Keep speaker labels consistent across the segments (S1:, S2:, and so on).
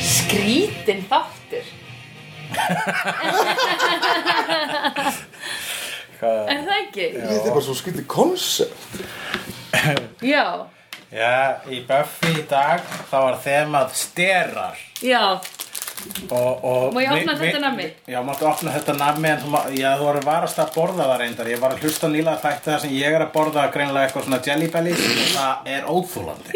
S1: Skrítin þáttur
S2: Hvað?
S1: Er það ekki?
S3: Þetta er bara svo skytið konsept
S1: Já,
S2: Já, í Buffy í dag þá var þemað sterar
S1: já,
S2: og, og
S1: Má ég
S2: mi-
S1: opna
S2: mi-
S1: þetta nammi?
S2: Já, máttu opna þetta nammi en þú, má- já, þú voru varast að borða það reyndar Ég var að hlusta á nýlega þætti það sem ég er að borða greinlega eitthvað svona jelly bellies og það er óþúlandi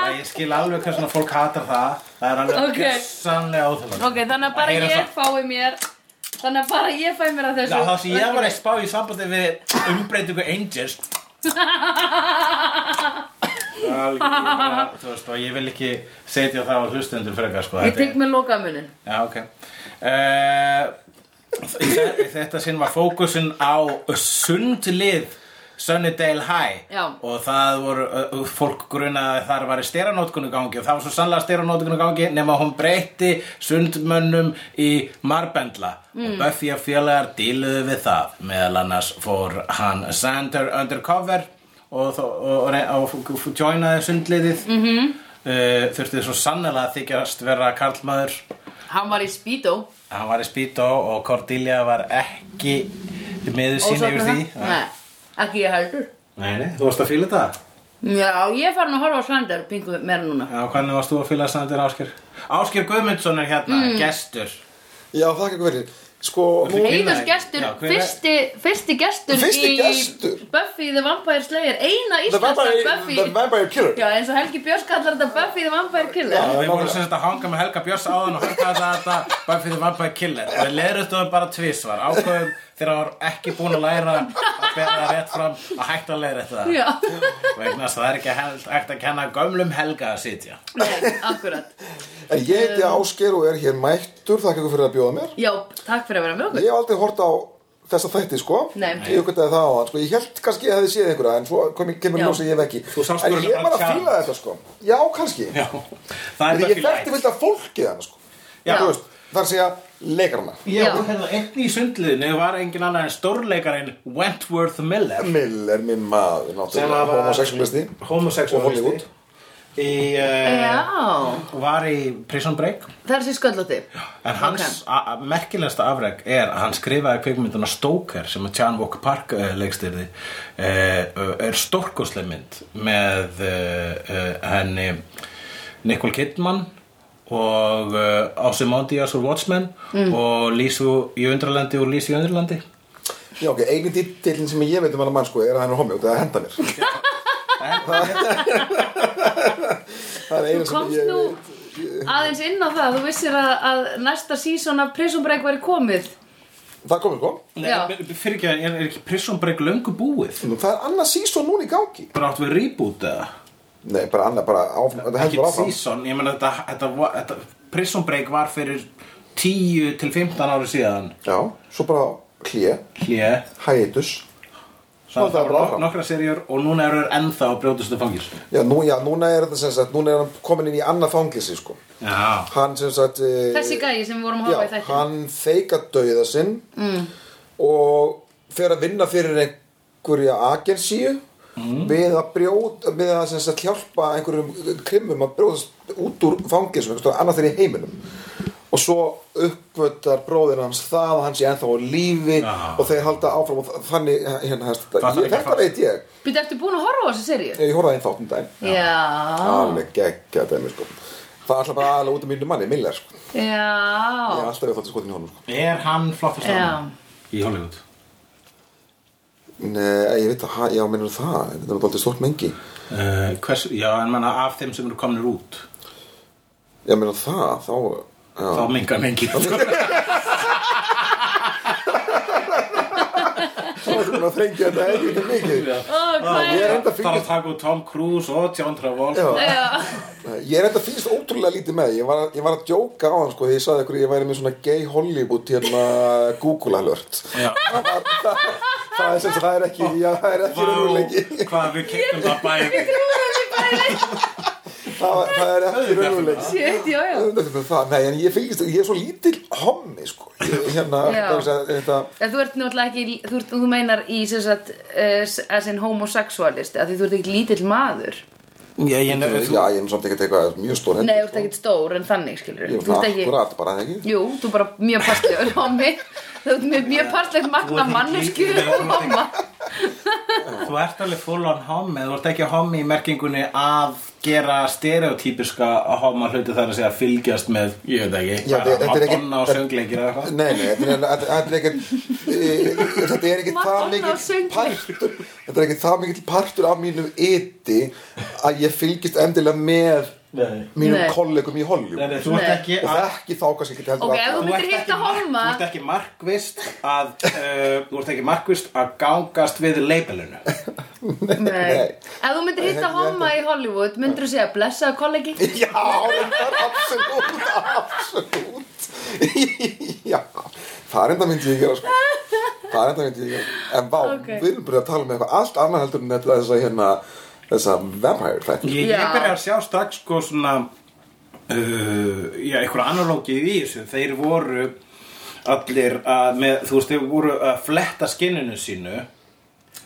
S2: Það ég skil alveg hvað svona fólk hatar það Það er alveg
S1: Ok.
S2: okay. sannlega óþúlandi
S1: ok, þannig að bara
S2: heyra
S1: ég
S2: það.
S1: fái mér Þannig að bara ég fái mér að
S2: Já,
S1: þessu
S2: það sem ég var að spá í sambandi við umbreytingu Angels Það er alveg- ég bara, Þú veist, og ég vil ekki setja það á hlustendur frekar sko,
S1: Ég
S2: þetta
S1: tek
S2: er-
S1: mér lokamunin
S2: Já, ok uh, í þe- í Þetta sinn var fókusun á sundlið Sunnydale High
S1: Já.
S2: og það voru uh, fólk grunaði að þar var steranótkun í gangi og það var svo sannlega steranótkun í gangi nema hún breytti sundmönnum í marbendla og Buffy og félagar díluðu við það meðal annars fór hann Sander undercover og, þó- og, og, og, og joinaði sundliðið mm -hmm. þurfti svo sannlega að þykjast vera karlmaður
S1: Hann var í Speedo
S2: hann var í Speedo og Cordelia var ekki meður sín yfir því
S1: Ósóknar það? Nei, ekki ég heldur
S2: Nei, nei, þú varst að fíla þetta?
S1: Já, ég er farin að horfa á Svander pingu meira núna
S2: Já, hvernig varst þú að fíla Sandir Ásker? Ásker Guðmundsson er hérna,
S1: Mm.
S2: gestur
S3: Já, þakka ykkur fyrir Sko, nú,
S2: Hver er-
S1: Heiðus gestur,
S2: Já, hver er-
S1: fyrsti, fyrsti gestur
S3: Fyrsti
S1: í
S3: gestur?
S1: Buffy the Vampire Slayer Eina
S3: The
S1: íslenska
S3: Vampire,
S1: Buffy
S3: the vampire Killer
S1: Já, eins og Helgi Björns kallar þetta Buffy the Vampire Killer
S2: Við vorum
S3: nákvæmlega.
S2: sem sagt að hanga með Helga Björns áðan og hann kallaði þetta Buffy the Vampire Killer og við leiðrustuðum bara tvísvar ákveðum þegar hann var ekki búin að læra að bera rétt fram að hægt að leiðra þetta
S1: Já,
S2: vegna þess að það er ekki held- hægt að kenna gömlum Helga að sitja
S1: nei, akkurat
S3: En ég heiti Ásker og er hér mættur Þakka ykkur fyrir að bjóða mér
S1: Já, takk fyrir að vera með okkur
S3: Ég hef aldrei hort á þessa þætti, sko
S1: Nei.
S3: Ég uppgötaði það á hann, sko Ég held kannski ég hefði séð einhverja En svo kom ég kemur
S1: Já.
S3: ljósa ég hef ekki
S2: Þú sást
S3: En
S2: bara
S3: ég var að
S2: Uncharted.
S3: fíla þetta, sko Já, kannski
S2: Já, það er
S3: Þegar ég
S2: Buffy
S3: þekkti
S2: Light
S3: vilt að fólkið hann, sko
S2: Já.
S3: Þú veist, Það er að segja leikarana
S2: Já,
S1: Já.
S2: og hérna einn í sundliðinu var engin annar en stórleikarinn Wentworth Miller
S3: Miller, minn maður, náttúrulega Homosexualisti Og Hollywood
S2: homosexualisti í, uh,
S1: Já,
S2: var í Prison Break
S1: það er sér sköllótti
S2: en hans okay. merkilegasta afreg er að hann skrifaði kvikmynduna Stoker sem að Chan Walker Park uh, leikstyrði uh, er stórkosleg mynd með uh, uh, henni Nicole Kidman og uh, Ássi Móndías úr Watchmen og Lísu í Undralandi og Lísu í Undralandi
S3: Já, ok, einu dýtillin sem ég veit um hann að mann, sko Er að hann er homi og það er að henda mér Það er
S1: Þú
S3: einu sem
S1: komst
S3: ég
S1: nú aðeins inn á það, þú vissir að, að næsta sísón af Prison Break væri komið
S3: Það komið sko
S2: Nei,
S1: Já.
S2: fyrir ekki að er er ekki Prison Break löngu búið
S3: Nú, Það er annað season núna í gangi
S2: bara átt við reboot eða
S3: Nei, bara annað, bara áfram Þetta heldur
S2: ekki
S3: bara áfram
S2: season, ég meina þetta, þetta, var- þetta Prison Break var fyrir 10 til 15 ári síðan
S3: Já, svo bara hlje,
S2: hlje,
S3: hætus Svo er það bara áfram.
S2: nokkra serjur og núna eru þeir ennþá að brjótast það fangir
S3: Já, nú, já, núna er þetta sem sagt Núna er hann komin inn í annað fanglisi, sko
S2: Já,
S3: Hann sem sagt e...
S1: Þessi gæi sem við vorum að
S3: Já,
S1: hafa í þættinum Mm.
S3: hann feika dauða sinn Og fer að vinna fyrir einhverja agensíu Við að brjóta, við að sem sagt hjálpa einhverjum krimum að brjóðast út úr fangisum, einhverjum annað þeirri í heiminum og svo uppvöldar bróðir hans það og hann sé ennþá á lífi
S2: Já.
S3: og þeir halda áfram og þannig hérna hans þetta,
S2: Fattar
S3: ég,
S2: ekki
S3: þetta
S2: fast.
S3: veit ég
S1: Býttu eftir búin að horfa á þessu seríu?
S3: ég horfði einn þátt um daginn
S1: Já
S3: alveg geggja dæmi sko það er alltaf bara aðalega út af mínu manni, Miller sko. ég er
S1: Já
S3: alltaf við þátt skotin í honum sko.
S2: er hann flottast
S1: Já
S2: í Hollywood
S3: Nei, ég veit að, ha- já, minnur það þetta var alltaf stort mengi
S2: uh, hvers, Já, en manna af þeim sem eru komnir út
S3: já, minnur það, þá já.
S2: þá mingar mengið
S3: búin að þrengja þetta helvita mikið
S1: Ó, hvað
S3: Ég er
S1: er
S2: Þar
S3: enda
S2: að
S3: fylgjast
S2: taka út Tom Cruise og John Travolta
S3: Já.
S1: Já,
S3: Ég er enda fylgjast ótrúlega lítið með Ég var, ég var að djóka á hann sko Þegar ég sagði ykkur að ég væri með svona gay Hollywood hérna Google alert
S2: Já.
S3: það, var- það, það, er sem sagt- það er ekki Já, það er ekki raunulegi
S2: Vá, hvað við kekkum það bæði
S3: það, það er ekki raunulegi
S1: shit, já, já
S3: Nei, en ég fylgist, ég er svo lítil hommi sko Ég, hérna,
S1: Já.
S3: það er sem sagt- þetta
S1: En þú ert náttúrulega ekki, þú, ert, þú meinar í sem sagt, uh, as in homosexualist að því þú ert ekki lítill maður
S2: Já, ég nefnir þú
S3: Já, ég er nú samt ekkert eitthvað mjög stór
S1: Nei, þú ert ekki stór en þannig, skilur Þú
S3: Ég sko. er
S1: ert
S3: svona
S1: ekki,
S3: akkurat bara, ekki?
S1: jú, þú er bara mjög passlegur hommi Þú ert mjög, mjög passlegt magna
S2: ekki
S1: mannesku
S2: lítill, þú ert ekki-
S1: homma
S2: Þú ert alveg full on hommi, þú ert ekki hommi í merkingunni að gera stereotypiska homma hluti þar að segja fylgjast með, ég veit ekki,
S3: Já,
S2: bara
S3: þetta er ekki-
S2: Madonna og söngleikir eða eitthvað.
S3: Nei, nei, þetta er- þetta þetta er ekkert þetta er ekkert það
S1: Madonna og
S3: mikill
S1: söngleik.
S3: partur þetta er ekkert það mikill partur af mínu yti að ég fylgist endilega með
S2: Nei.
S3: mínum
S1: Nei.
S3: kollegum
S2: Nei,
S3: í
S2: nei,
S3: Hollywood
S2: þú ert
S1: Nei.
S2: ekki
S3: og
S2: að
S3: þekki þá kannski ekki heldur
S1: Ok, ef
S3: alla.
S1: þú myndir
S2: ert
S1: hitta
S2: ekki mark-
S1: homma
S2: Þú ert ekki markvist að uh, Þú ert ekki markvist að gangast við labelinu
S1: Nei
S3: Nei.
S1: Ef þú myndir hitta
S3: Ég- ég-
S1: homma í Hollywood myndir þú segja blessaða kollegi
S3: Já, það er absolutt, absolutt Já, það er enda myndi ég gera sko Það er enda myndi ég gera En vá,
S1: Ok.
S3: við erum byrjað að tala um eitthvað allt annað heldur en þetta þess að hérna þess að vampire þætti
S2: Ég,
S1: Já.
S2: ég byrja að sjá strax sko svona uh, Já, einhverja analógið í þessu Þeir voru allir að með, Þú veist, þeir voru að fletta skinninu sínu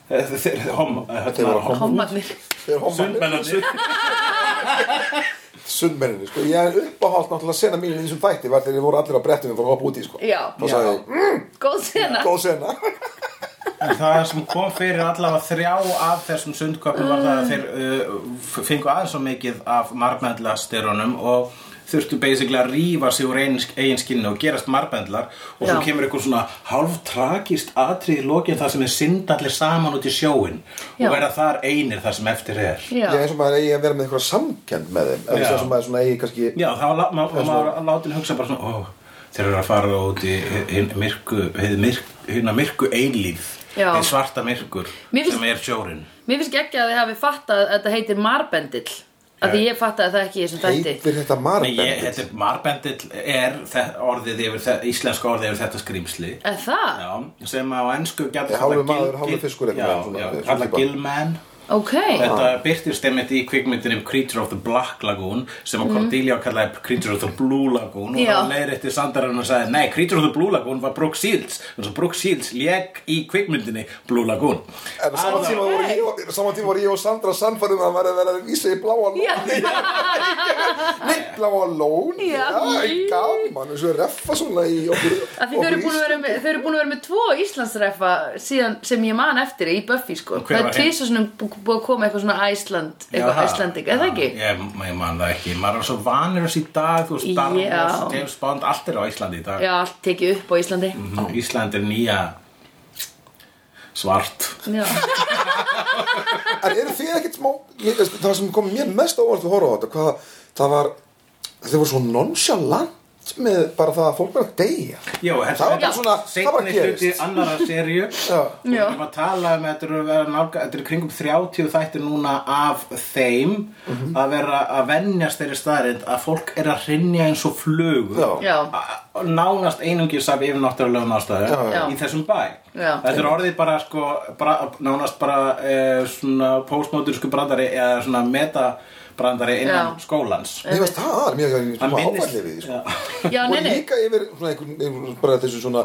S2: Þeir, þeir, hom,
S3: Þeir voru hommar.
S1: Hommarnir
S3: Þeir hommar-
S2: Sundmennarnir
S3: sundmenninni sko. ég er uppáhald náttúrulega sena mín í þessum þætti var þegar þið voru allir á brettinu fyrir að hoppa út í sko.
S1: Já,
S3: þá sagði ég, mm,
S1: góð sena
S3: góð sena
S2: En það sem kom fyrir allavega þrjá af þessum sundköpum var það að þeir uh, f- fengu aðeins svo mikið af marbendlasterunum og þurftu basically að rífa sig úr eigin, eigin skinni og gerast marbendlar og svo
S1: Já.
S2: kemur eitthvað svona hálftragist atrið í lokin þar sem er allir saman út í sjóin
S1: Já.
S2: og verða þar einir þar sem eftir er
S1: Já,
S3: ég er eins og maður eigi að vera með eitthvað samkend með þeim eða
S2: Já.
S3: eins og maður svona eigi kannski
S2: Já, þá lá- má- má- maður látin hugsa bara svona, ó, þeir eru að fara út í hin- myrku, hið myrk, hina myrku einlíf,
S1: Já.
S2: hið svarta myrkur
S1: Mér finnst-
S2: sem er sjórinn.
S1: Mér finnst ekki að þið hafi fattað að þetta heitir marbendill Af því ég fattaði það ekki í þessum þætti
S3: heitir þetta
S2: Nei, ég,
S3: marbendill
S2: þetta marbendill er þe- orðið yfir þetta, íslenska orðið yfir þetta skrýmsli
S1: Er það?
S2: Já, sem á ennsku
S3: Ég, hálfur maður, hálfur fiskur eitthvað,
S2: Já,
S3: svona,
S2: já,
S3: svona
S2: kalla
S3: típa.
S2: Gilman
S1: Ok,
S2: Þetta
S3: Ah.
S2: byrtist einmitt í kvikmyndinum Creature of the Black Lagoon sem að Cordelia kallaði Creature of the Blue Lagoon og
S1: Mhm. Já.
S2: það leiðir eftir Sandarinn og sagði Nei, Creature of the Blue Lagoon var Brooke Shields en svo Brooke Shields lék í kvikmyndinni Blue Lagoon
S3: en á sama
S2: Alveg.
S3: tíma voru ég, og- sama tíma voru ég og Sandra sannfærum að maður verið að vísa í bláa lón
S1: Já.
S3: nei, bláa lón
S1: Já.
S3: gaman, eins og reffa svona í okkur
S1: af því þau eru búin að vera með, þau eru búin að vera með tvo Íslandsrefa síðan sem ég man eftir í Buffy sko
S2: Og hver
S1: Það
S2: var
S1: er
S2: hinn?
S1: tvisar svona bú- búið að koma eitthvað svona Æsland, eitthvað
S2: Já,
S1: Æslanding, eða ekki?
S2: Já, Ég, ég man það ekki, maður er svo vanur þessi í dag, þú veist, Star
S1: Já.
S2: Wars, James Bond, allt er á Íslandi í dag
S1: Já, allt tekið upp á Íslandi
S2: Mhm, Ísland er nýja svart
S3: Mm.
S1: Já,
S3: En eru þið ekkert smá ég, veist, Það sem kom mér mest óvart að horfa á þetta hvað, Það var Þið voru svo nonchalant með bara það að fólk verið að deyja
S2: Jó,
S3: Það var bara svona, það bara
S2: seinni hluti
S3: gerist
S2: annara serju
S3: Já.
S2: Við erum að tala um að þetta eru að vera nálga, þetta eru kringum 30 þættir núna af þeim
S3: Mhm.
S2: að vera að venjast þeirri staðrind að fólk er að hrynja eins og flugur
S3: Já.
S1: já,
S2: A- nánast einungis af yfirnáttúrulegum
S1: já.
S3: Já,
S2: ástæðum í þessum bæ
S1: Já.
S2: þetta er orðið bara, sko, bara nánast bara eh, svona postmóturísku brandari eða svona metabrandari innan
S1: Já.
S2: skólans
S3: Mér veist það, það er mjög
S2: Hann
S3: áfællið við því, sko.
S2: Já.
S1: já,
S3: Og
S1: nei, nei
S3: líka yfir svona einhvern einhvern- bara þessu svona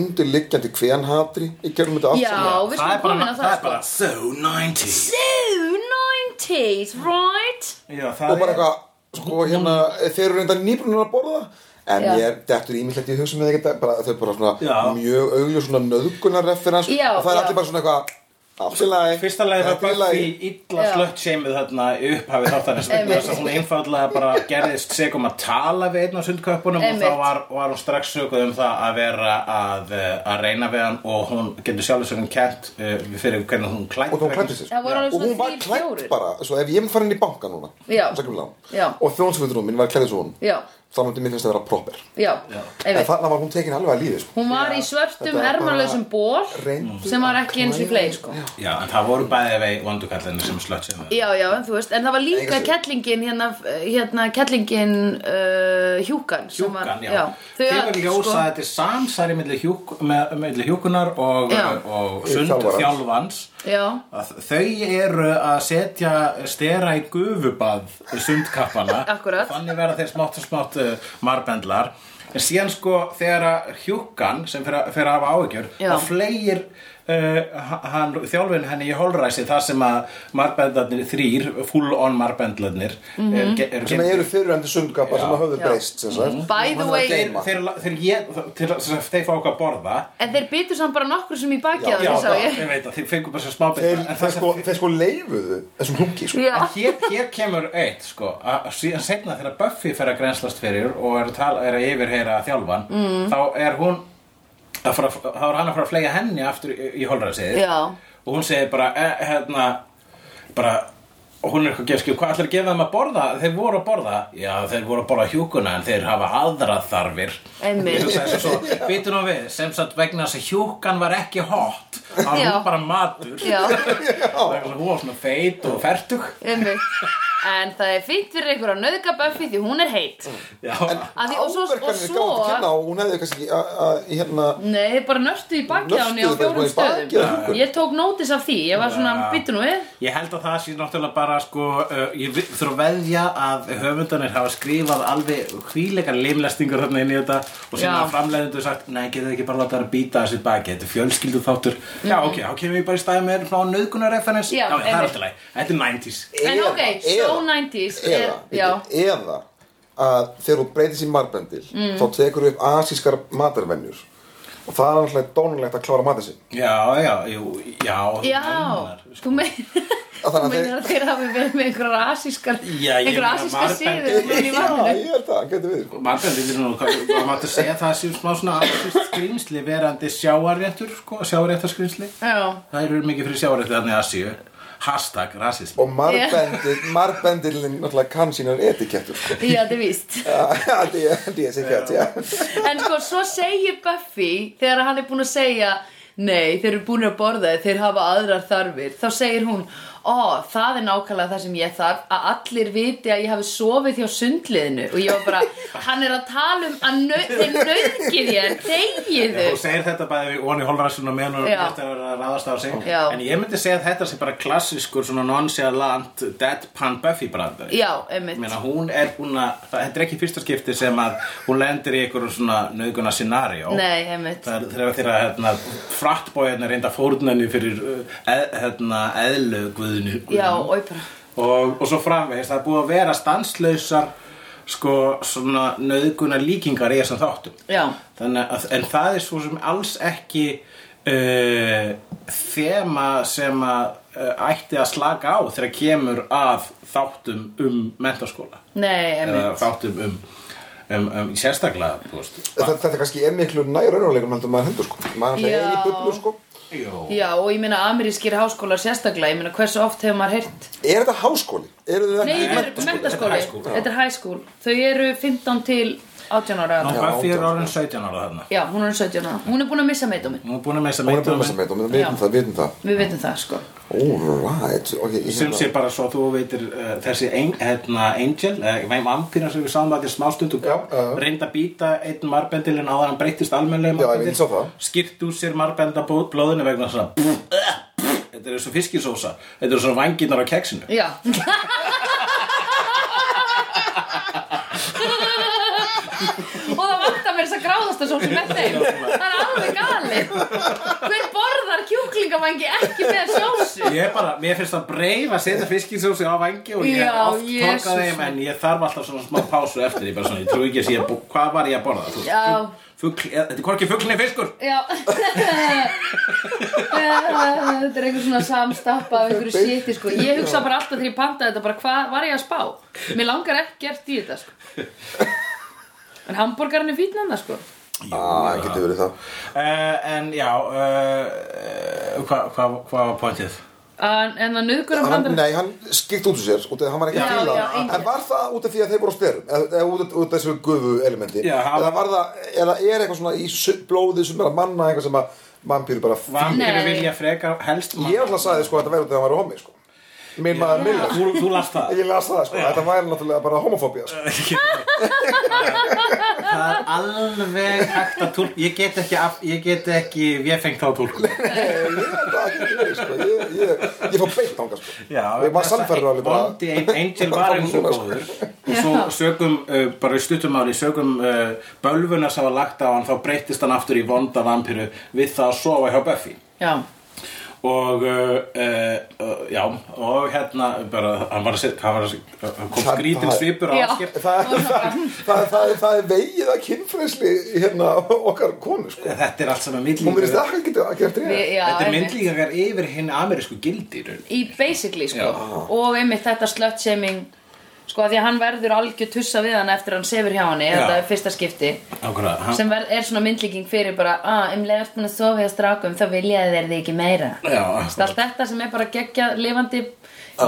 S3: undirliggjandi kvenhatri í gegnum þetta allt
S1: Já,
S3: saman.
S1: við skulum
S2: það er bara,
S1: komin á
S2: það
S1: það
S2: er
S1: sko
S2: bara so 90s
S1: Ew, 90s, right?
S2: Já,
S3: Og
S2: það
S3: bara
S2: er
S3: eitthvað, sko hérna Þeir eru reynda nýbrunar að borða En
S1: Já.
S3: ég er dettur ímyndlegt í hugsa með þetta bara, Þau eru bara svona
S2: Já.
S3: mjög augljós svona nöðgunarreferans Og
S1: Já,
S3: það er
S1: já.
S3: allir bara svona eitthvað Allt í lagi
S2: Fyrsta lagi var
S3: Þetta er í
S2: Buffy
S3: lagi.
S2: illa
S1: Já.
S2: slött seimið þarna í upphafi þáttanins vegna
S1: Einmitt.
S2: þess að hún einfallega bara gerðist segum að tala við einn á sundköpunum og
S1: Einmitt.
S2: þá var, var hún strax söguð um það að vera að, eh, að reyna við hann og hún getur sjálfur sér hún kent uh, fyrir hvernig hún klætt
S3: og þá hún klæddi sig
S1: Það voru alveg
S3: og hún
S1: svona
S3: var
S1: þrír,
S3: klædd
S1: fjórir.
S3: bara svo ef ég myndi fara inn í banka núna
S1: Já.
S3: sækjum lán,
S1: Já.
S3: og þjónsveitur hún minn var klædd svo hún
S1: Já.
S3: þá myndi mér finnst það vera proper
S1: já,
S3: en
S1: einmitt
S3: þarna var hún tekin alveg að líði sko.
S1: hún var í svörtum
S3: Þetta var bara
S1: ermalösum ból
S3: reyndu
S1: sem var
S3: að
S1: ekki eins og
S3: klæða-
S1: flei sko.
S2: Já, en það voru bæðið vei vondukallinu sem slött sem það.
S1: já, já, en þú veist, en það var líka
S3: Enga sig.
S1: kettlingin hérna, hérna kettlingin uh, hjúkan sem var-
S2: Hjúkan, já.
S1: þau
S2: Þegar
S1: öll, sko.
S2: ljósa að þetta er samsæri milli, hjúk, með, milli hjúkunar og,
S1: Já.
S2: og sundþjálfans.
S1: já,
S2: Að Þau eru að setja stera í gufubað sundkappana.
S1: Akkúrat.
S2: Þannig verða þeir smátt og smátt uh, marbendlar. En síðan sko þegar að hjúkan sem fer að, fer að hafa áhyggjur,
S1: Já.
S2: þá fleir uh, hann, þjálfin henni í holræsi þar sem að marbendlarnir þrýr, full on marbendlarnir,
S1: Mhm.
S2: mm -hmm. er,
S3: sem eru fyrirhendu sundgapa sem að höfðu
S1: Já.
S3: breyst sem sagt.
S1: By the
S3: Og það
S1: way-
S3: geyma.
S2: þeir, þeir, þeir, ég, til að sem sagt, þeir fá okkar að borða
S1: en þeir byttu samt bara nokkur sem í baki
S3: Já,
S1: á
S2: já,
S1: þessu
S2: það,
S1: ég
S2: ég veit að þeir fengur bara svo smá bita.
S3: þeir,
S2: En
S3: þeir,
S2: það sem-
S3: sko, þeir sko leifuðu þessum hlungi sko.
S1: Já.
S2: en hér, hér kemur eitt sko, að síðan setna þegar Buffy fer að grenslast fyrir og er að, tala, er að yfirheyra þjálfan mm. þá er hún að fara, þá er hann að fara að flega henni aftur í, í holræsið
S1: Já.
S2: og hún segir bara e, hérna, bara og hún er eitthvað gefskil, hvað ætlar að gefa þeim að borða? Þeir voru að borða, já þeir voru að borða hjúkuna en þeir hafa aðra þarfir
S1: Einmitt.
S2: Ég hugsaði svo, svo, Býtum nú við, sem sagt vegna þess að hjúkan var ekki hot Það var
S1: Já.
S2: hún bara matur
S1: Já.
S2: Vegna þess að Hún var svona feit og fertug
S1: Einmitt. En það er fínt fyrir ykkur að nauðga Buffy því hún er heitt.
S3: Mm.
S2: Já,
S1: Að því, og svo, og
S3: Áverkarnir
S1: svo,
S3: gáðu til kynna og hún hefði kannski ekki að- að hérna
S1: nei, þeir bara nörstu í bakið á henni á
S3: Nörstuðu bara
S1: fjórum
S3: í bakið á
S1: stöðum.
S3: hrúkunni.
S1: Ég tók nótis af því, ég var svona,
S2: Já.
S1: byttu nú við.
S2: Ég held að það sé náttúrulega bara sko, uh, ég vi- þurf að veðja að höfundanir hafa skrifað alveg hvíleikar limlestingur þarna inn í þetta og sem
S1: Já.
S2: að framleiðendur sagt, nei, getið þið ekki bara láta það að býta þessi baki, þetta er fjölskyldu þáttur Já, ok, þá kemur ég bara í staði með frá nöðgunarreferens
S1: Mhm. Já,
S2: það er
S1: einmitt.
S2: alltaf leið, þetta er 90s
S1: En
S3: eða-
S1: ok,
S3: eða-
S1: so 90s er,
S3: eða,
S1: já,
S3: eða að þegar hún breytir sér marbendil
S1: Mm.
S3: þá tekur upp asískar matarvenjur og það er alltaf dónulegt að klára matar sinn
S2: Já, já, jú, já
S1: já,
S2: meinar,
S1: þú
S2: sko.
S1: meinar,
S3: Að
S1: þú
S3: þannig að
S1: meinar að þeir hafi verið með einhverja asískar,
S2: Já, ég
S1: einhverja
S2: meina,
S1: asískar
S2: margar-
S1: síður í vatninu.
S3: ég held það, getur við sko.
S2: Margrandi, við erum nú, hvað maður að segja það séu smá svona afsýst skrýmsli verandi sjáarréttur, sko, sjáarréttarskrýmsli
S1: Já,
S2: Það eru mikið fyrir sjáarréttur þannig að séu Hashtag rasism
S3: og marbendil, marbendilin náttúrulega kann sínar etikettur sko.
S1: já, þetta er víst.
S3: það er sér kjætt, já
S1: En sko, svo segir Buffy þegar hann er búin að segja Nei, þeir eru búin að borða þeir, þeir hafa aðrar þarfir Þá segir hún Ó, það er nákvæmlega það sem ég þarf Að allir viti að ég hafi sofið hjá sundliðinu Og ég var bara Hann er að tala um að nau, þeir nauðgið ég Þegið
S2: Þú
S1: þau
S2: segir þetta bæði við Oni Holrasun og menur
S1: Já.
S2: eftir að vera að ráðast á sig
S1: Já.
S2: En ég myndi segja að þetta sé bara klassískur svona nonchalant deadpan Buffy brandari
S1: Já, einmitt
S2: Meina, hún er búin að, það- þetta er ekki fyrsta skipti sem að hún lendir í einhverjum svona nöðguna scenario
S1: Nei, einmitt
S2: Það er þegar þeirra hérna, frattbójarna reynda fórnenni fyrir uh, eð, hérna, eðlu guðinu
S1: Já, og ég bara
S2: og, og svo framvegis það er búið að vera stanslausar sko svona nöðguna líkingar í þessum þáttum
S1: Já,
S2: Þannig að, en það er svo sem alls ekki uh, þema sem að uh, ætti að slaka á þegar kemur að þáttum um mentaskóla
S1: nei,
S2: eða
S1: einmitt
S2: þáttum um, um, um sérstaklega, þú veist
S3: þetta, þetta kannski er miklu nær raunarleikum heldur en maður hendur sko maður
S1: Já.
S3: er í bublu sko
S2: Jó.
S1: Já, og ég meina amerískir háskólar sérstaklega Ég meina hversu oft hefur maður heyrt
S3: er þetta háskóli? eru þið
S1: Nei,
S3: ekki
S1: þetta er
S3: menntaskóli?
S2: Þetta er
S1: mentaskóli,
S2: high school, já.
S1: þetta er high school Þau eru 15 til 18 ára
S2: Ná,
S1: já.
S2: Buffy er orðin 17 ára þarna
S1: já, hún er 17 ára Hún er búin að missa meitdómin
S2: Hún er búin að meisa
S3: hún er búin að messa
S2: meitum
S3: með þetta, við vitum
S1: Já.
S3: það, við vitum það
S1: Við veitum það, sko
S3: Alright, ok, ég hérna-
S2: sem sé bara svo að þú veitir uh, þessi ein, hérna, angel uh, vampýra sem við sáum að þetta smástund og
S3: Já, já, já.
S2: reyndi að býta einn marbendilin áður en hann breyttist almennlega
S3: Já, ég sá það.
S2: skýrt úr sér marbenda blóðinu vegna svona eh, þetta er eins og fiskisósa þetta er svona vanginnar á keksinu
S1: Já, og það vantar mér þess að gráðast að sósi með þeim Það er alveg gali Hver borðar kjúklingavangi ekki með sósu?
S2: Ég er bara, mér finnst það breyf að setja fiskinsósi á vangi og ég
S1: Já,
S2: hef oft
S1: Jesus.
S2: torkað þeim en ég þarf alltaf svona smá pásu eftir ég bara svona, ég trú ekki að sé að bú- hvað var ég að borða þú,
S1: Já.
S2: fugl, eða- þetta er hvorki fuglinni fiskur
S1: Já Þetta er einhver svona samstappa af einhverju séti, sko Ég hugsa bara alltaf þegar ég pantaði þetta bara hvað var ég að spá? Mér langar ekkert í þetta, sko En hambúrgarinn er fínn annað, sko
S3: ah, getur verið það
S2: Eh, uh, en já uh, uh, hvað eh, hva, hva var pointið?
S1: En en að nöðgur um
S3: hann,
S1: bandar
S3: nei, hann skipt út úr sér út af því að hann var ekki
S1: Já,
S3: að fíla
S1: já,
S3: það.
S1: einmitt.
S3: en var það út af því að þeir voru á sperum eða eða út af, út af þessu gufu elementi
S2: Já, hann-
S3: eða var það, eða er eitthvað svona í su- blóði sem er að manna eitthvað sem að vampýru bara fíla
S2: Vampíru
S1: Nei.
S2: vilja frekar helst mann.
S3: ég alltaf sagði sko að þetta væri út af því að hann var homi sko. minn maður Miller
S2: Þú, þú last það
S3: ég las það sko, þetta væri náttúrulega bara homofóbía sko.
S2: Það er alveg hægt að tólk Ég get ekki, af, ég get ekki Véfengt þá tólk
S3: Nei, ég held að ekki verið, sko. ég, ég, ég fór beitt ánga sko. ég var
S2: um
S3: samferður alveg bara
S2: Bondi Angel var eins og góður Og svo
S1: Já.
S2: sögum, uh, bara í stuttumáli Sögum uh, bölvuna sem var lagt á hann Þá breyttist hann aftur í vonda vampiru Við það að sofa hjá Buffy
S1: Já,
S2: og uh, uh, já, og hérna bara, hann var að setja hann var að setja, hann kom
S3: Það-
S2: skrítin
S3: það-
S2: svipur á
S1: Já.
S2: áskip
S3: það, það, það, það, það er vegið að kynfræsli hérna okkar konu sko.
S2: þetta er allt saman
S3: hún verðist
S2: myndlíkingar
S3: ekki að gera
S1: við,
S3: þetta
S1: já
S2: þetta er
S1: einmitt.
S2: myndlíkingar yfir hinn amerísku gildi í raun.
S1: Í basically sko
S2: Já.
S1: Og einmitt þetta slutshaming Sko að því að hann verður algjör tussa við hann eftir að hann sefur hjá hann Þetta er fyrsta skipti
S2: Nákvæmlega, hann-
S1: Sem ver, er svona myndlíking fyrir bara ah, Um leiðast búin að sofa hjá strákum þá vilja þeir þig ekki meira
S2: Já,
S1: Allt þetta sem er bara geggja lifandi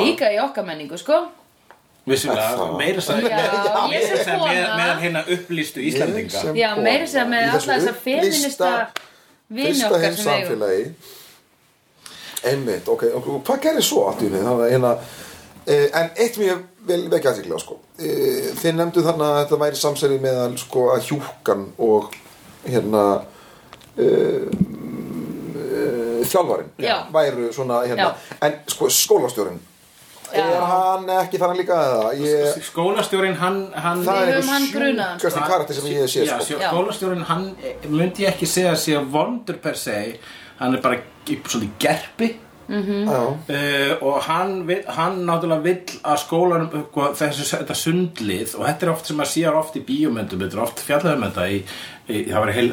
S1: Líka í okkar menningu sko
S2: vissulega, meira sæ
S1: Já, ég sem
S2: sem með,
S1: kona
S2: meðan hinna upplýstu Íslandinga
S3: sem
S1: Já,
S3: kona
S1: meira segja með
S3: Sko, í
S1: alla
S3: þessu
S1: þessa feminista
S3: upplýsta-
S1: Vini
S3: fyrsta
S1: okkar
S3: heims
S1: sem eigum
S3: samfélagi einmitt, ok, og hvað gerir svo allt í henni, þannig að hérna eh, en eitt mjög vel vekja aðtikla sko. eh, þið nefndu þannig að þetta væri samsærið meðal sko að hjúkan og hérna eh, eh, þjálfarinn
S1: Já.
S3: væru svona hérna en sko skólastjórinn
S1: Já.
S3: er hann ekki þannig líka eða
S2: Sko,
S3: ég,
S2: skólastjórin hann, hann
S3: það er
S1: Við höfum hann
S3: einhver
S1: grunaðan, sko.
S3: sjúkasti karakter sem ég hef séð
S2: Já,
S3: sko.
S2: sjó-
S1: Já.
S2: skólastjórinn, hann eh, myndi ég ekki segja að sé vondur per se hann er bara í- svolítið gerpi
S3: Já.
S2: Uh, og hann, vill- hann náttúrulega vill að skólanum hvað, þessu, þetta sundlið og þetta er oft sem maður sér oft í bíómyndum þetta er oft fjallaðum þetta í, í, það var heil,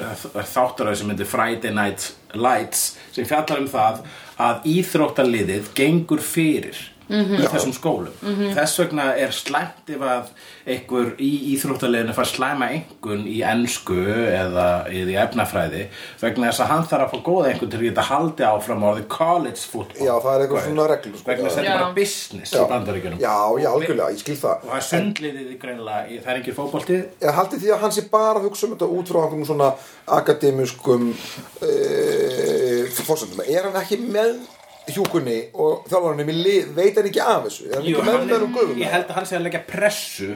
S2: þáttaraði sem myndi Friday Night Lights sem fjallar um það að íþróttaliðið gengur fyrir í þessum skólum þess vegna er slæmt ef að einhver í íþróttaliðinu fær slæma einhvern í ensku eða eða í efnafræði vegna þess að hann þarf að fá góða einhvern til að geta haldi áfram orðið college football
S3: Já, það er eitthvað svona reglur, sko.
S2: vegna þess að
S1: Já.
S2: þetta er bara business
S3: Já.
S2: í bandaríkjunum
S3: já, já, algjörlega, ég skil það
S2: og það er sundliðið greinilega í- það er ekki fótboltið
S3: Ég haldi því að hann sé bara að hugsa um þetta út frá einhverjum svona akademískum uh, fórsöndum. Er hann ekki með hjúkunni og þjálfarnum í lið, veit hann ekki af þessu? Er hann
S2: Jú,
S3: ekki með
S2: hann er,
S3: þennum guðum?
S2: ég held að hann sé að leggja pressu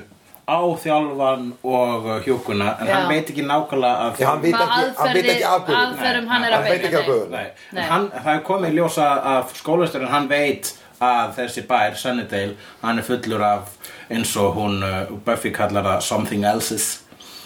S2: á þjálfan og uh, hjúkuna en
S1: Já.
S2: hann veit ekki nákvæmlega að
S3: Já, hann veit
S1: Hvað
S3: ekki, hann veit ekki af
S1: aðferðir-
S3: guðum.
S1: aðferðum hann
S2: Nei,
S1: er að
S3: hann veit
S1: beina,
S3: ekki af
S1: nei.
S3: guðum.
S2: Nei, en
S1: Nei.
S2: hann, það er komið í ljósa að skólasturinn hann veit að þessi bær, Sunnydale, hann er fullur af eins og hún uh, Buffy kallar það something else's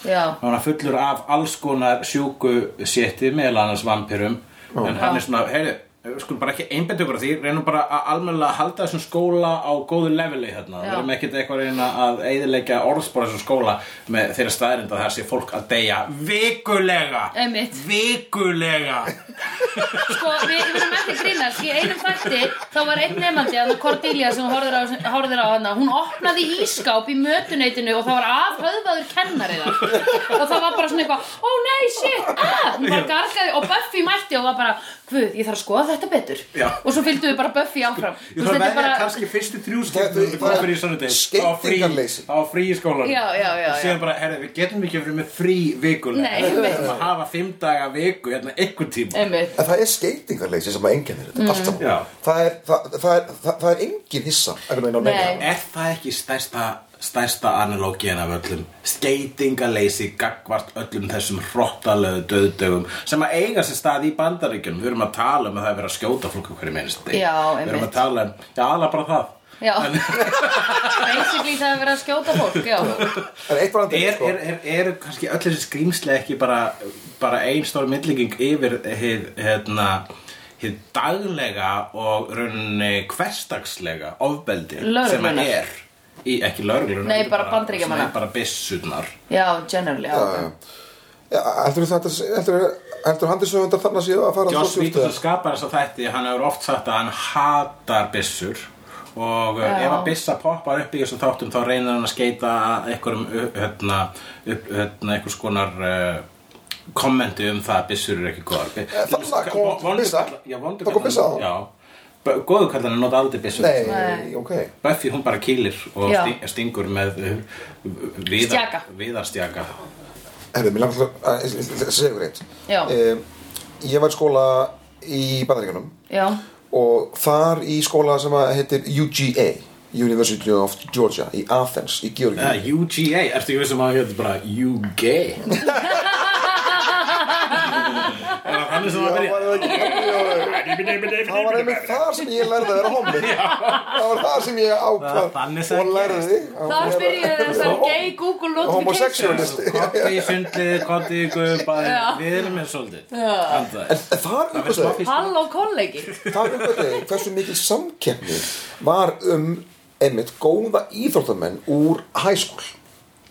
S1: Já,
S2: hann er fullur af alls konar sjúku sétti meðal annars vampirum en hann er svona, heyri, við skulum bara ekki einbætt ykkur að því, reynum bara að almennilega halda þessum skóla á góðu leveli hérna,
S1: Já.
S2: við erum ekkert eitthvað að reyna að eigðilegja orðspora þessum skóla með þeirra staðrind að það sé fólk að deyja vikulega,
S1: Einmitt.
S2: vikulega
S1: sko, við, við erum ekki að grínast í einum þætti, þá var einn nefnandi að Cordelia sem horfður á, horfður á hana hún opnaði ískáp í mötuneitinu og það var afhöðvaður kennari þar og það var bara svona eitthvað, ó nei, shit ah, hún bara gargaði og Buffy mætti og var bara, guð, ég þarf að skoða þetta betur
S2: Já.
S1: og svo fylgdu við bara Buffy áfram
S2: Ég
S1: Þú veist,
S2: þarf að
S1: þetta er
S2: veðja bara... kannski fyrstu þrjú skemmtum
S3: Þetta er
S2: við
S3: bara
S2: komum fyrir í Sunnydale á frí,
S3: skeytingarleysi.
S2: á frí í skólanum
S1: Já, já, já, já.
S2: Síðan bara, herri, við getum ekki verið með frí vikulega
S1: Nei,
S2: Við
S1: einmitt.
S2: þurfum að hafa fimm daga viku, hérna, einhvern tíma
S1: einmitt,
S3: En það er skeitingarleysi sem að enginn er þetta,
S1: Mm.
S3: allt saman.
S2: Já.
S3: Það er, það, það er, það, það er enginn hissa, einhvern veginn á
S1: Nei.
S3: meginn.
S2: Er það ekki stærsta, stærsta analógin af öllum? Skeitingaleysi gagvart öllum þessum hrottalegu döðdögum sem að eiga sér stað í bandaríkjunum. Við erum að tala um að það er verið að skjóta fólk hverju minnst.
S1: Já,
S2: Við erum
S1: einmitt.
S2: að tala um, já, aðla bara það.
S1: já basically það er verið að skjóta fólk, já
S3: En eitt sko. var hann
S2: Er, er, er, er kannski öll þessi skrýmsli ekki bara, bara ein stór myndlíking yfir hið, hérna, hið daglega og rauninni hverstagslega ofbeldi sem að
S1: Lögreglunnar.
S2: er í, ekki lögreglunar
S1: Nei,
S2: heldur
S1: bara Bandaríkjamanna.
S2: sem er bara byssunar
S1: já, generally, já, já.
S3: Já, heldur þetta, heldur, heldur handisöfundar þannig að séu að fara
S2: Joss Whedon
S3: stjórnstöðar?
S2: sem skapar þessa þætti hann hefur oft sagt að hann hatar byssur og Já.
S1: Já.
S2: ef að byssa poppar upp í þessum þáttum þá reynir hann að skeita einhverjum ö- hérna, upp, hérna, einhvers konar uh, kommenti um það að byssur eru ekki góðar
S3: Eh, þarna kom byssa.
S2: Já, vondur
S3: Það kom byssa á.
S2: Já, B- góðu kallarinn nota aldrei byssu
S3: Nei,
S1: Nei.
S3: ok
S2: Buffy hún bara kýlir og
S1: Já.
S2: sti- stingur með uh, viðar,
S1: Stjaka.
S2: viðarstjaka
S3: Herðu, mér langar til að að- að- að segja ykkur eitt
S1: Já.
S3: Eh, Ég var í skóla í Bandaríkjunum
S1: já,
S3: og þar í skóla sem að heitir UGA University of Georgia í Athens í Georgi
S2: uh, UGA, ertu ég vissum að hérna bara UG Er það hann sem að
S3: Það
S2: byrja
S3: var einmitt- það var einmitt þar sem ég lærði að vera hommi Það var þar sem ég
S2: Það- þannig
S3: ákvað
S2: sem
S3: og
S2: það
S3: lærði
S1: þar byrjuðu þessar gay Google notification
S3: homosexualist
S2: Kotti í sundlið, kotti í guðbæði Við erum með svolítið
S3: En
S2: Andaði.
S3: þar
S2: Það verður smá
S3: uppgötaði
S2: fyrst
S1: Halló kollegi
S3: þar uppgötaði hversu mikil samkeppni var um einmitt góða íþróttamenn úr high school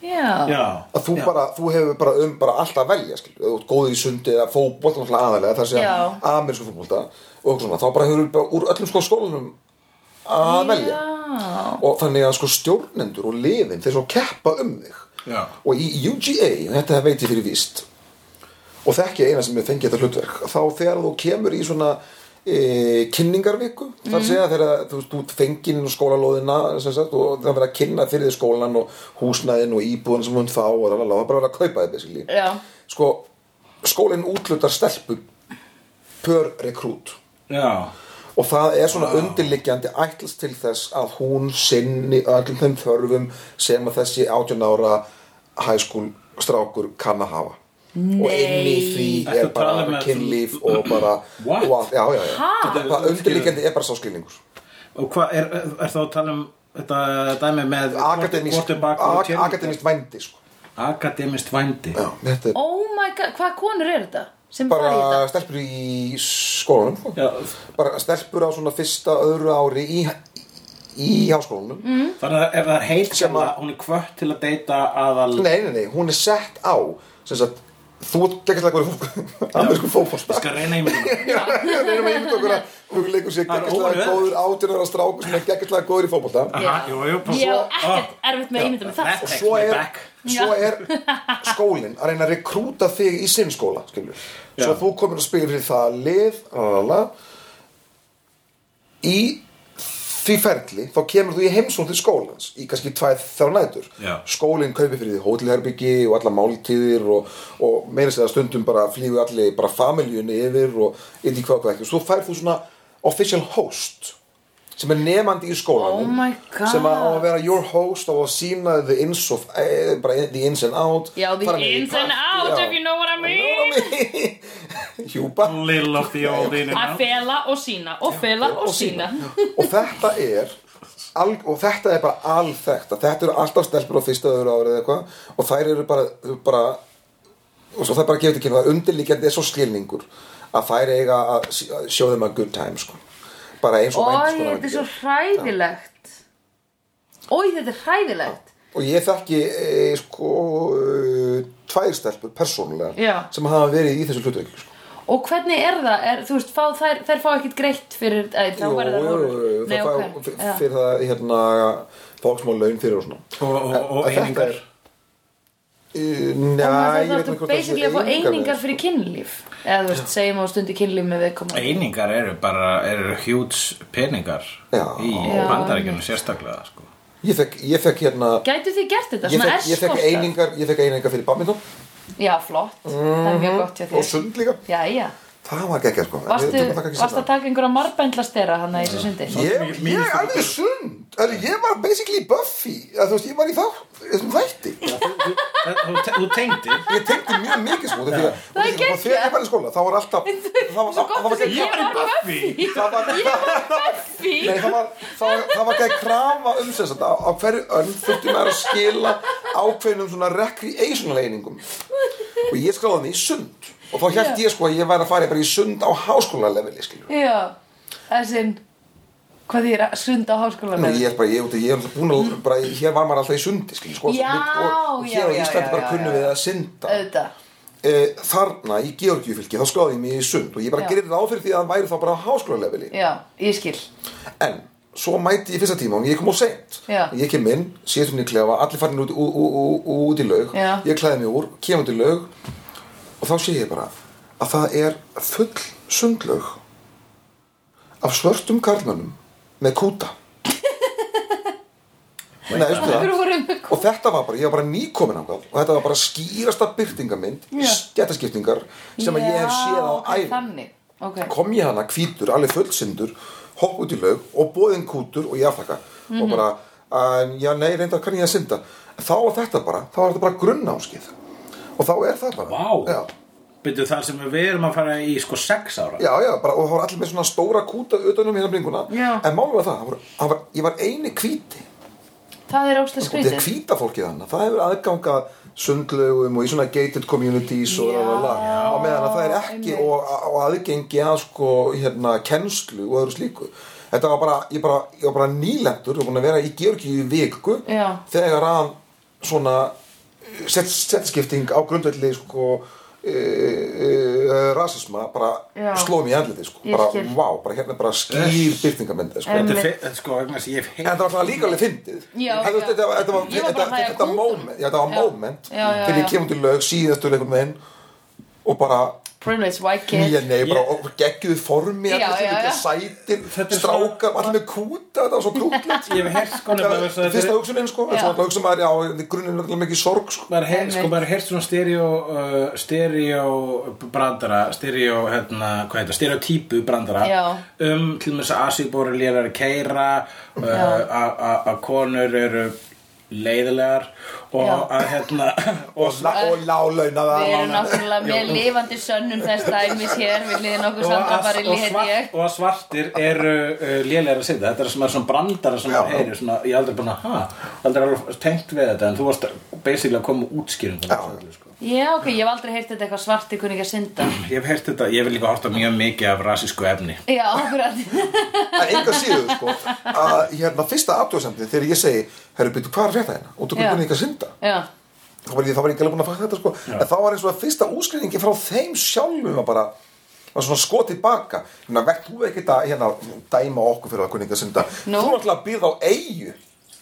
S1: Já,
S2: Já,
S3: að þú, bara, þú hefur bara um bara allt að velja skil, þú ert góður í sundi eða fótbolt náttúrulega aðalega þar
S1: Já.
S3: sem amerísku fótbolta og eitthvað svona, þá bara hefur bara úr öllum sko skólanum að velja
S1: já.
S3: og þannig að sko stjórnendur og liðin þeir svo keppa um þig
S2: Já.
S3: og í UGA, þetta veit ég fyrir víst og þekki eina sem ég fengi þetta hlutverk þá þegar þú kemur í svona e, kynningarviku þar mm. segja þegar þú, veist, þú fengir inn á skólalóðina sem sagt, og það verður að kynna fyrir því skólan og húsnæðin og íbúðan sem hún þá og lalala, það er bara verður að kaupa þið basically
S1: Já.
S3: sko, skólinn útlutar stelpu per rekrút
S2: já
S3: og það er svona undirliggjandi ætlast til þess að hún sinni öllum þeim þörfum sem að þessi 18 ára high school strákur kann að hafa og inn í því
S2: Ertu
S3: er
S2: að tala
S3: bara
S2: með-
S3: kynlíf og bara
S2: What?
S3: og allt, já, já, já.
S1: Ha?
S3: það undirliggjandi er bara sá skilningur
S2: Og hvað, er, er þá að tala um þetta dæmi með
S3: akademist,
S2: quarterback og
S3: ak-
S2: cheerleader?
S3: akademist vændi sko.
S2: Akademist vændi
S3: já, þetta er
S1: Oh my god, hvað konur er þetta? Sem bara í
S3: bara
S1: þetta?
S3: stelpur í skólanum sko.
S2: Já.
S3: bara stelpur á svona fyrsta öðru ári í, í háskólanum mm.
S2: Þannig að ef það er heit
S3: Sem
S2: sem
S3: að-
S2: að hún er kvött til að deyta aðal
S3: Nei, nei, nei, hún er sett á sem sagt, þú ert geggjast leikur í fólk amerísku
S2: Ég
S3: fótbolta
S2: skal reyna í mig
S3: Já, við erum að yfir okkur að hún leikur sér
S2: Það er
S3: geggjast leikur
S2: óvenju
S3: góður átjónara strákur sem er geggjast leikur góður í fótbolta
S2: Aha, jú, jú, passa.
S1: Ég á ekkert erfitt með að ímynda með það
S2: That takes
S3: svo
S2: me
S3: er-
S2: back
S3: svo er skólinn að reyna að rekrúta þig í sinn skóla skilur. svo
S2: Já.
S3: þú komir að spila fyrir það lið lalala, í því ferli þá kemur þú í heimsókn til skólans í kannski tvæð þrjá nætur
S2: Já.
S3: skólinn kaupir fyrir því hótelherbyggi og alla máltíðir og, og meira sér að segja stundum bara flýgu allir bara familjunni yfir og inn í hvað og hvað ekki og svo færð þú svona official host sem er nefandi í
S1: Oh
S3: skólanum
S1: my god.
S3: sem að á að vera your host og að sína the ins of eh, bara the ins and out
S1: Já, the
S3: fara niður í
S1: ins and
S3: partí,
S1: out,
S3: já.
S1: if you know what I mean
S3: hjúpa
S2: Little of the old in and
S1: Að
S2: out
S1: fela og sína, og fela og sína
S3: og þetta er al, og þetta er bara alþekkt að þetta eru alltaf stelpur á fyrsta öðru árið eitthvað og þær eru bara, eru bara og svo það er bara gefið ekki það undirlíkjandi er svo skilningur að þær eiga að sí- að show them a good time sko. bara eins og
S1: Ói,
S3: vænt, sko,
S1: þetta er svo hræðilegt Ói, þetta er hræðilegt
S3: og ég þekki e, sko e, tvær stelpur persónulega
S1: Já.
S3: sem hafa verið í þessu hlutur sko.
S1: Og hvernig er það? Er, þú veist, fá, þær, þær fá ekkert greitt fyrir Æ, þá
S3: Jú,
S1: verða það
S3: jú, jú, jú,
S1: Nei,
S3: það fá-
S1: ok,
S3: f-
S1: já.
S3: fyrir það hérna fólksmál laun fyrir og svona
S2: Og, og, og
S3: En þetta
S2: einingar
S3: er- Uh, Næ, ég
S1: Þannig að
S3: veit
S1: þú
S3: ekki
S1: ertu
S3: hvort það sé
S1: basically að fá einingar
S3: sko.
S1: fyrir kynlíf Eða þú veist, segjum á stundu kynlíf með viðkomandi
S2: Einingar eru bara, eru hjúts peningar
S3: Já.
S2: í
S1: Já.
S2: bandarækjunum sérstaklega sko.
S3: Ég fekk, ég fekk hérna
S1: Gætu þið gert þetta?
S3: Ég
S1: Svona
S3: fekk, ég, fekk
S1: eskortar?
S3: einingar, ég fekk einingar fyrir badminton
S1: Já, flott, það er mjög gott hjá
S3: og
S1: þér
S3: sund líka
S1: Jæja,
S3: Það var gekkja sko
S1: varstu,
S3: Ég- það
S1: varstu að taka einhverja marbendlastera hann að þessu sundi?
S3: Mm. Ég, ég alveg sund Alveg, Ég var basically Buffy að, Þú veist, ég var í þá, þessum þætti
S2: Það- Þú te- þú tengdir
S3: Ég tengdi mjög mikið sko Það
S1: Það er
S3: Þegar
S1: geggjað.
S3: ég var í skóla, þá var alltaf Það var,
S1: Svo
S3: það
S1: gott
S3: var
S1: að
S3: geggjað.
S1: segja var Buffy
S3: það var,
S1: Buffy
S3: nei, það var, það var, það var ekki krafa um sem sagt, á, á hverju önn þurfti maður að skila ákveðnum svona recreational einingum og ég skráði hann í sund og þá held ég sko að ég væri að fara bara í sund á háskóla leveli skilur
S1: Já, þessin Hvað þýr að sunda á
S3: Nú,
S1: háskólanum?
S3: ég er bara, ég, ég, ég er búin að bara, hér var maður alltaf í sundi skilur, sko,
S1: Já,
S3: og, og
S1: já,
S3: hér á
S1: já,
S3: Íslandi
S1: já,
S3: bara
S1: já,
S3: kunnum
S1: já.
S3: við að synda
S1: Auðvitað
S3: e, þarna í Georgiufylki þá skráði ég mig í sund og ég bara
S1: Já.
S3: gerir ráð fyrir því að hann væri þá bara á háskóla leveli
S1: Já, ég skil
S3: En svo mæti ég fyrsta tíma og ég kom á seint
S1: Já.
S3: Ég kem inn, sétum í klefa, allir farin út, ú, ú, ú, ú, út í laug
S1: Já.
S3: Ég klæði mig úr, kem út í laug Og þá sé ég bara að það er full sundlaug af svörtum karlmönnum með kúta Nei, veistu
S1: Af hverju
S3: það?
S1: voru með
S3: og þetta var bara, ég var bara nýkomin ákvæð og þetta var bara skýrasta byrtingamind
S1: Já.
S3: stjættaskiptingar sem að ég hef séð á
S1: ok,
S3: ævi
S1: þannig okay.
S3: kom ég hana hvítur, alveg fullsindur hopp út í laug og bóðin kútur og ég aftakka
S1: Mhm.
S3: og bara, um, já nei, reyndar kann ég að synda þá er þetta bara, þá er þetta bara grunnámskið og þá er það bara
S2: Vá.
S3: já,
S2: Byrju þar sem við erum að fara í sko sex ára
S3: já, já bara, og það var allir með svona stóra kúta utanum hérna bringuna,
S1: Já.
S3: en málum var það, það var, það var ég var eini hvíti
S1: það er óslega
S3: og Sko, þetta
S1: skrítið
S3: er hvíta fólkið hann það hefur aðganga sundlögum og í svona gated communities og
S1: Já,
S3: það var og meðan að það er ekki
S1: einmitt.
S3: og, og aðgengi að sko hérna kennslu og öðru slíku þetta var bara, ég bara, ég var bara nýlendur og búin að vera í Georgi í viku
S1: Já.
S3: þegar að svona eh, set, setskipting á grundvelli sko e, e, rasisma bara
S1: Já.
S3: sló mér í andliti sko,
S1: Ég
S3: bara
S1: skil.
S3: vá, bara hérna bara skýr byrtingamendi sko.
S2: Þetta er fe- sko, vegna þess að ég hef
S3: En það var alltaf líka alveg fyndið
S1: Já,
S3: En þú veist,
S1: já.
S3: Þetta var, þetta var,
S1: Ég var bara
S3: þetta,
S1: að hlæja
S3: þetta
S1: kúk.
S3: moment, já, þetta var
S1: Já.
S3: moment
S1: Já, já,
S3: Þegar
S1: já.
S3: ég kemur til lög síðastur einhvern veginn Og bara
S1: privilege white
S3: Nýja
S1: kid
S3: nei, bara
S2: Ég-
S3: og geggjuð formi
S1: Já,
S3: allir sem
S1: já,
S3: ekki
S1: já.
S2: Þetta
S3: sætir
S2: er
S3: Strákar, allir með kúta Þetta var svo krútlegt
S2: Ég hef heyrt sko
S3: Það
S2: nefnilega
S3: var
S2: þess að
S3: Fyrsta
S2: þetta er-
S3: hugsunin sko
S1: Já.
S3: En svo alltaf hugsa maður, já, í grunninn er alltaf mikið sorg sko.
S2: maður heyrt
S1: Einmitt.
S2: sko, maður heyrt svona stereo uh, stereo brandara stereo, hérna, hvað heita, stereotypu brandara
S1: Já.
S2: um til þess að asibóri lérar að keira uh,
S1: Já.
S2: að- að að konur eru leiðilegar og
S1: Já.
S2: að hérna
S3: Og, la, og lálauna
S1: við erum
S3: það
S1: náttúrulega með lifandi sönnum þess dæmis hér við liðin okkur Sandra
S2: að-
S1: bara
S2: og,
S1: liði ég
S2: og að svartir eru uh, lélegar að sitja þetta er svona, svona brandara sem
S3: Já.
S2: maður heyrir svona, ég er aldrei búin að, ha, aldrei alveg tengt við þetta en þú varst basically að koma með útskýringu á þessu öllu, sko.
S1: já ok, ég hef aldrei heyrt þetta eitthvað svarti kunni ekki að synda
S2: Ég hef heyrt þetta, ég hef líka hort á mjög mikið af rasísku efni.
S1: já, akkurat
S3: En enga síður sko að, hérna, Fyrsta aftöðsendin þegar ég segi Herru, byrju, hvað er að frétta hérna? Og þú
S1: Já.
S3: byrju ekki að synda
S1: já,
S3: þá var ég, þá var ég ekki alveg búin að fatta þetta sko en þá var eins og að fyrsta útskriðingi frá þeim sjálfum var bara var svona sko tilbaka hérna, vekk þú ekkert að hérna, dæma okkur fyrir að kunni ekki að synda
S1: Nú.
S3: þú náttúrulega býrð á eigu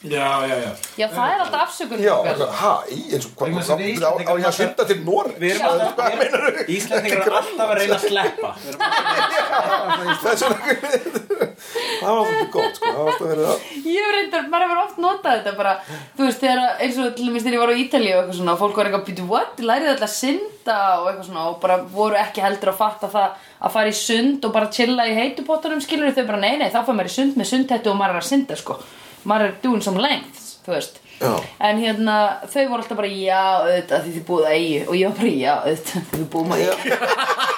S2: Já, já, já.
S1: já það er alltaf afsökun
S3: já,
S1: okkar.
S3: hérna, ha, í, eins og hvað
S2: Vegna þess
S3: á,
S2: að við
S3: á, á
S2: Íslendingar
S3: ég að synda til Noreg
S2: Við erum alltaf,
S3: hvað meinar þú?
S2: Íslandingar er alltaf að reyna að sleppa. Við erum alltaf-
S3: það er svona það var alltaf gott sko það var alltaf verið að
S1: Ég hef reyndar, maður hefur oft notað þetta bara Þú veist, þegar, að- eins og til dæmis þegar ég var á Ítalíu og eitthvað svona Fólk var eitthvað, býtu, what? Lærið alltaf að synda og eitthvað svona Og bara voru ekki heldur að fatta það Að fara í sund og bara chilla í heitupottunum Skilur þau bara, nei, nei, þá fær maður í sund með sundhettu Og maður er að synda, sko Maður er doing some lengths, þú veist
S3: Já.
S1: En hérna, þau voru alltaf bara, já, auðvitað, því þið búið að eigi Og ég var bara, já, auðvitað, því þið búið að eigi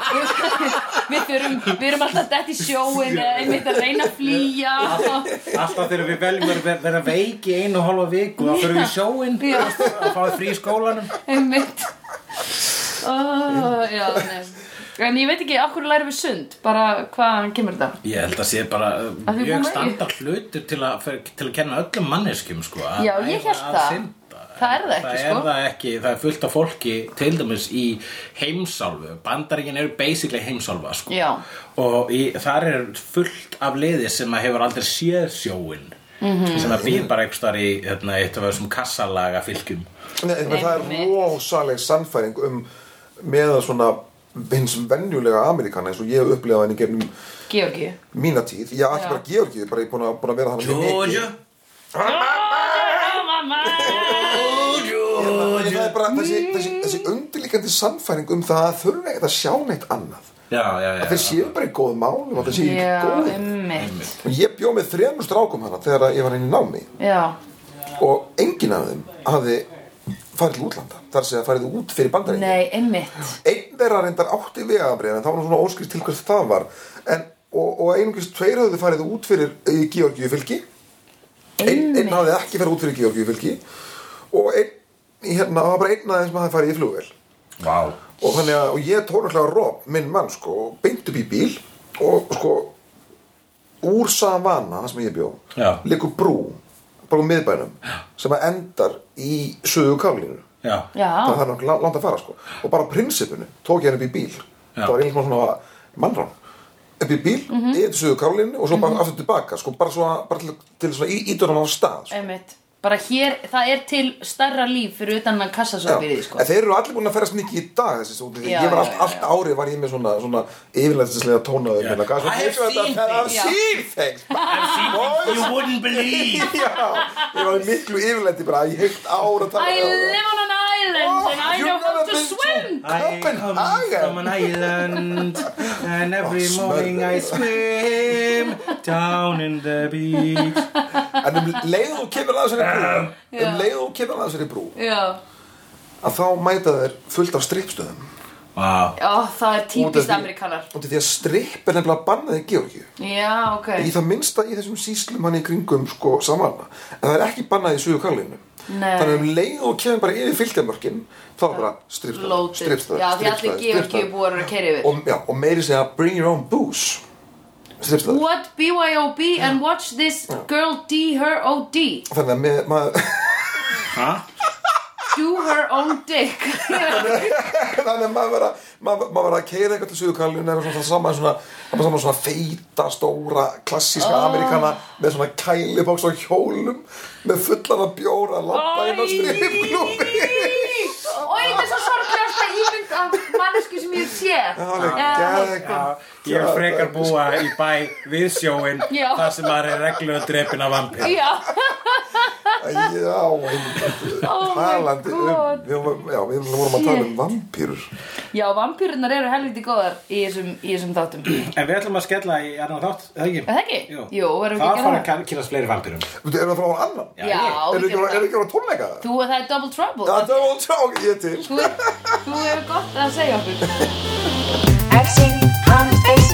S1: Við þurfum, við erum alltaf dætt í sjóin Eða einmitt að reyna að flýja
S2: Alltaf þegar við veljum að ver- vera veik í einu og hálfa viku, þá fyrir við í sjóinn
S1: Já.
S2: að fá frí í skólanum.
S1: einmitt oh, já, nei. en ég veit ekki af hverju lærum við sund bara hvaðan kemur þetta
S2: Ég held að sé bara uh,
S1: Að því
S2: mjög
S1: hún er-
S2: standart hlutur til að, fer- til að kenna öllum manneskjum, sko. að-
S1: Já, ég
S2: að-
S1: hélt
S2: að
S1: það.
S2: synda.
S1: Það er það ekki, sko.
S2: er það ekki, það er fullt af fólki, til dæmis í heimsálfu. Bandaríkin eru basically heimsálfa, sko.
S1: Já.
S2: Og í, þar er fullt af liði sem að hefur aldrei séð sjóin.
S1: Mhm.
S2: -hmm. sem að býr bara einhvers þar í hérna, eitt af þessum kassalaga fylgjum
S3: Nei, menn, það er
S1: Einmitt.
S3: rosaleg sannfæring um meðan svona hins venjulega Amerikana eins og ég hef upplifað henni gegnum
S1: Georgi
S3: mína tíð, ég ætti
S1: Já.
S3: bara Georgi bara ég búin að, búin að vera hann það er bara þessi,
S1: Mm.
S3: þessi, þessi undirlíkandi sannfæring um það að þurfa ekkert að sjá neitt annað
S2: já, já, já
S3: að þeir séu bara í góðum málum og þeir séu í
S1: já,
S3: góðum
S1: einmitt
S3: og ég bjó með þremur strákum hana þegar að ég var inn í námi
S1: já,
S3: og enginn af þeim hafði farið til útlanda þar sem það farið út fyrir bandaríkja
S1: nei, einmitt
S3: einn þeirra reyndar átti vegabrið en það var nú svona óskrift til hvers það var en, og, og einungis tveir höfðu farið út fyrir í Georgiu fylki einn ein hafði ekki farið út fyrir Georgiu fylki og einn hérna, það var bara einn aðeins sem hafði farið í flugvél
S2: Vá.
S3: og þannig að og ég tók náttúrulega Rob, minn mann sko, og beint upp í bíl og sko úr Savana, það sem ég bjó
S2: Já.
S3: liggur brú, bara um miðbænum sem að endar í söðu kálínu
S2: já,
S3: það
S1: já,
S3: þarf náttúrulega langt að fara sko. og bara á prinsipinu tók ég hann upp í bíl það var einhvern svona mannrán upp í bíl,
S1: Mhm.
S3: mm -hmm. yfir til Suður Karolínu og svo bara aftur tilbaka, sko, bara, svona, bara til, til svona ídurinn á stað sko.
S1: einmitt bara hér, það er til starra líf fyrir utan hann kassasoppiði sko.
S3: En þeir eru allir búin að ferast mikið í dag þessi stúdíu.
S1: Já,
S3: Ég var
S1: já,
S3: allt,
S1: já,
S3: allt árið var ég með svona, svona yfirlæðislega tónaður hérna,
S2: Já.
S3: minna. Hvað
S2: I
S3: er
S2: have
S3: svo mikið
S2: seen
S3: þetta? I've
S1: things.
S3: seen things.
S2: I've seen
S3: Boys.
S2: things you wouldn't believe
S3: Já, ég var í miklu yfirlæti bara í heilt ára að tala
S1: I live on an island and I know how to swim
S3: Copenhagen.
S2: from an island And every
S3: Oh, smell.
S2: morning I swim Down in the beach
S3: En um leið og þú kemur að þessari brú Um leið og þú kemur að þessari brú
S1: Já,
S3: Að þá mæta þeir fullt af strippstöðum
S2: Wow
S1: Já það er
S3: Út af
S1: típist
S3: því-
S1: amerikanar
S3: Út af því að stripp er nefnilega bannað í Georgíu
S1: Já, ok
S3: Í það minnsta í þessum síslum hann í kringum sko samanna En það er ekki bannað í suðu kallinu
S1: Nei.
S3: Þannig að um leið og þú kemur bara yfir fylgjarmörkin Þá er bara strippstöð
S1: Lótið. Já, því allir Georgíu búar eru að keyra yfir.
S3: Og, já, og meiri segja bring your own booze Strippstöð
S1: What BYOB and watch this girl D her OD
S3: Þannig að með, maður
S2: Hæ?
S1: Do her own dick
S3: Þannig að maður var að, maður, maður var að keira eitthvað til Suðurkallun eða svona saman svona, það var saman svona feita, stóra, klassíska
S1: Ah.
S3: ameríkana með svona kælibóks á hjólum með fullan af bjóra að labba inn á stripklúfi
S1: Og þetta er svo sorglegasta ímynd af mannesku sem ég sé Eh,
S3: Það er
S1: Já.
S3: gegn
S2: Ég vil frekar búa í bæ við sjóin
S1: Já.
S2: þar sem maður er reglulega drepin af vampir
S1: Já,
S3: Já, einmitt.
S1: Oh my
S3: talandi
S1: God.
S3: um við vorum- Já, við vorum að tala um vampýrur
S1: Já vampýrunar eru helviti góðar í þessum, í þessum þáttum Er
S2: En við ætlum að skella í annan þátt, er það ekki?
S1: það ekki?
S2: Jú,
S1: Jú erum við
S2: það
S1: ekki að
S2: fara
S1: gera það?
S2: að kynast fleiri vampirum
S3: Erum við að fara á annan?
S2: Já,
S1: Já,
S3: Erum
S1: við
S3: við ekki að-
S1: gerum
S3: erum
S1: það
S3: við ekki að fara á tónleika?
S1: Þú og það er double trouble
S3: Já, það var tjók, ég er til
S1: Þú er- þú hefur gott að segja okkur
S4: I've seen honest faces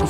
S5: Þú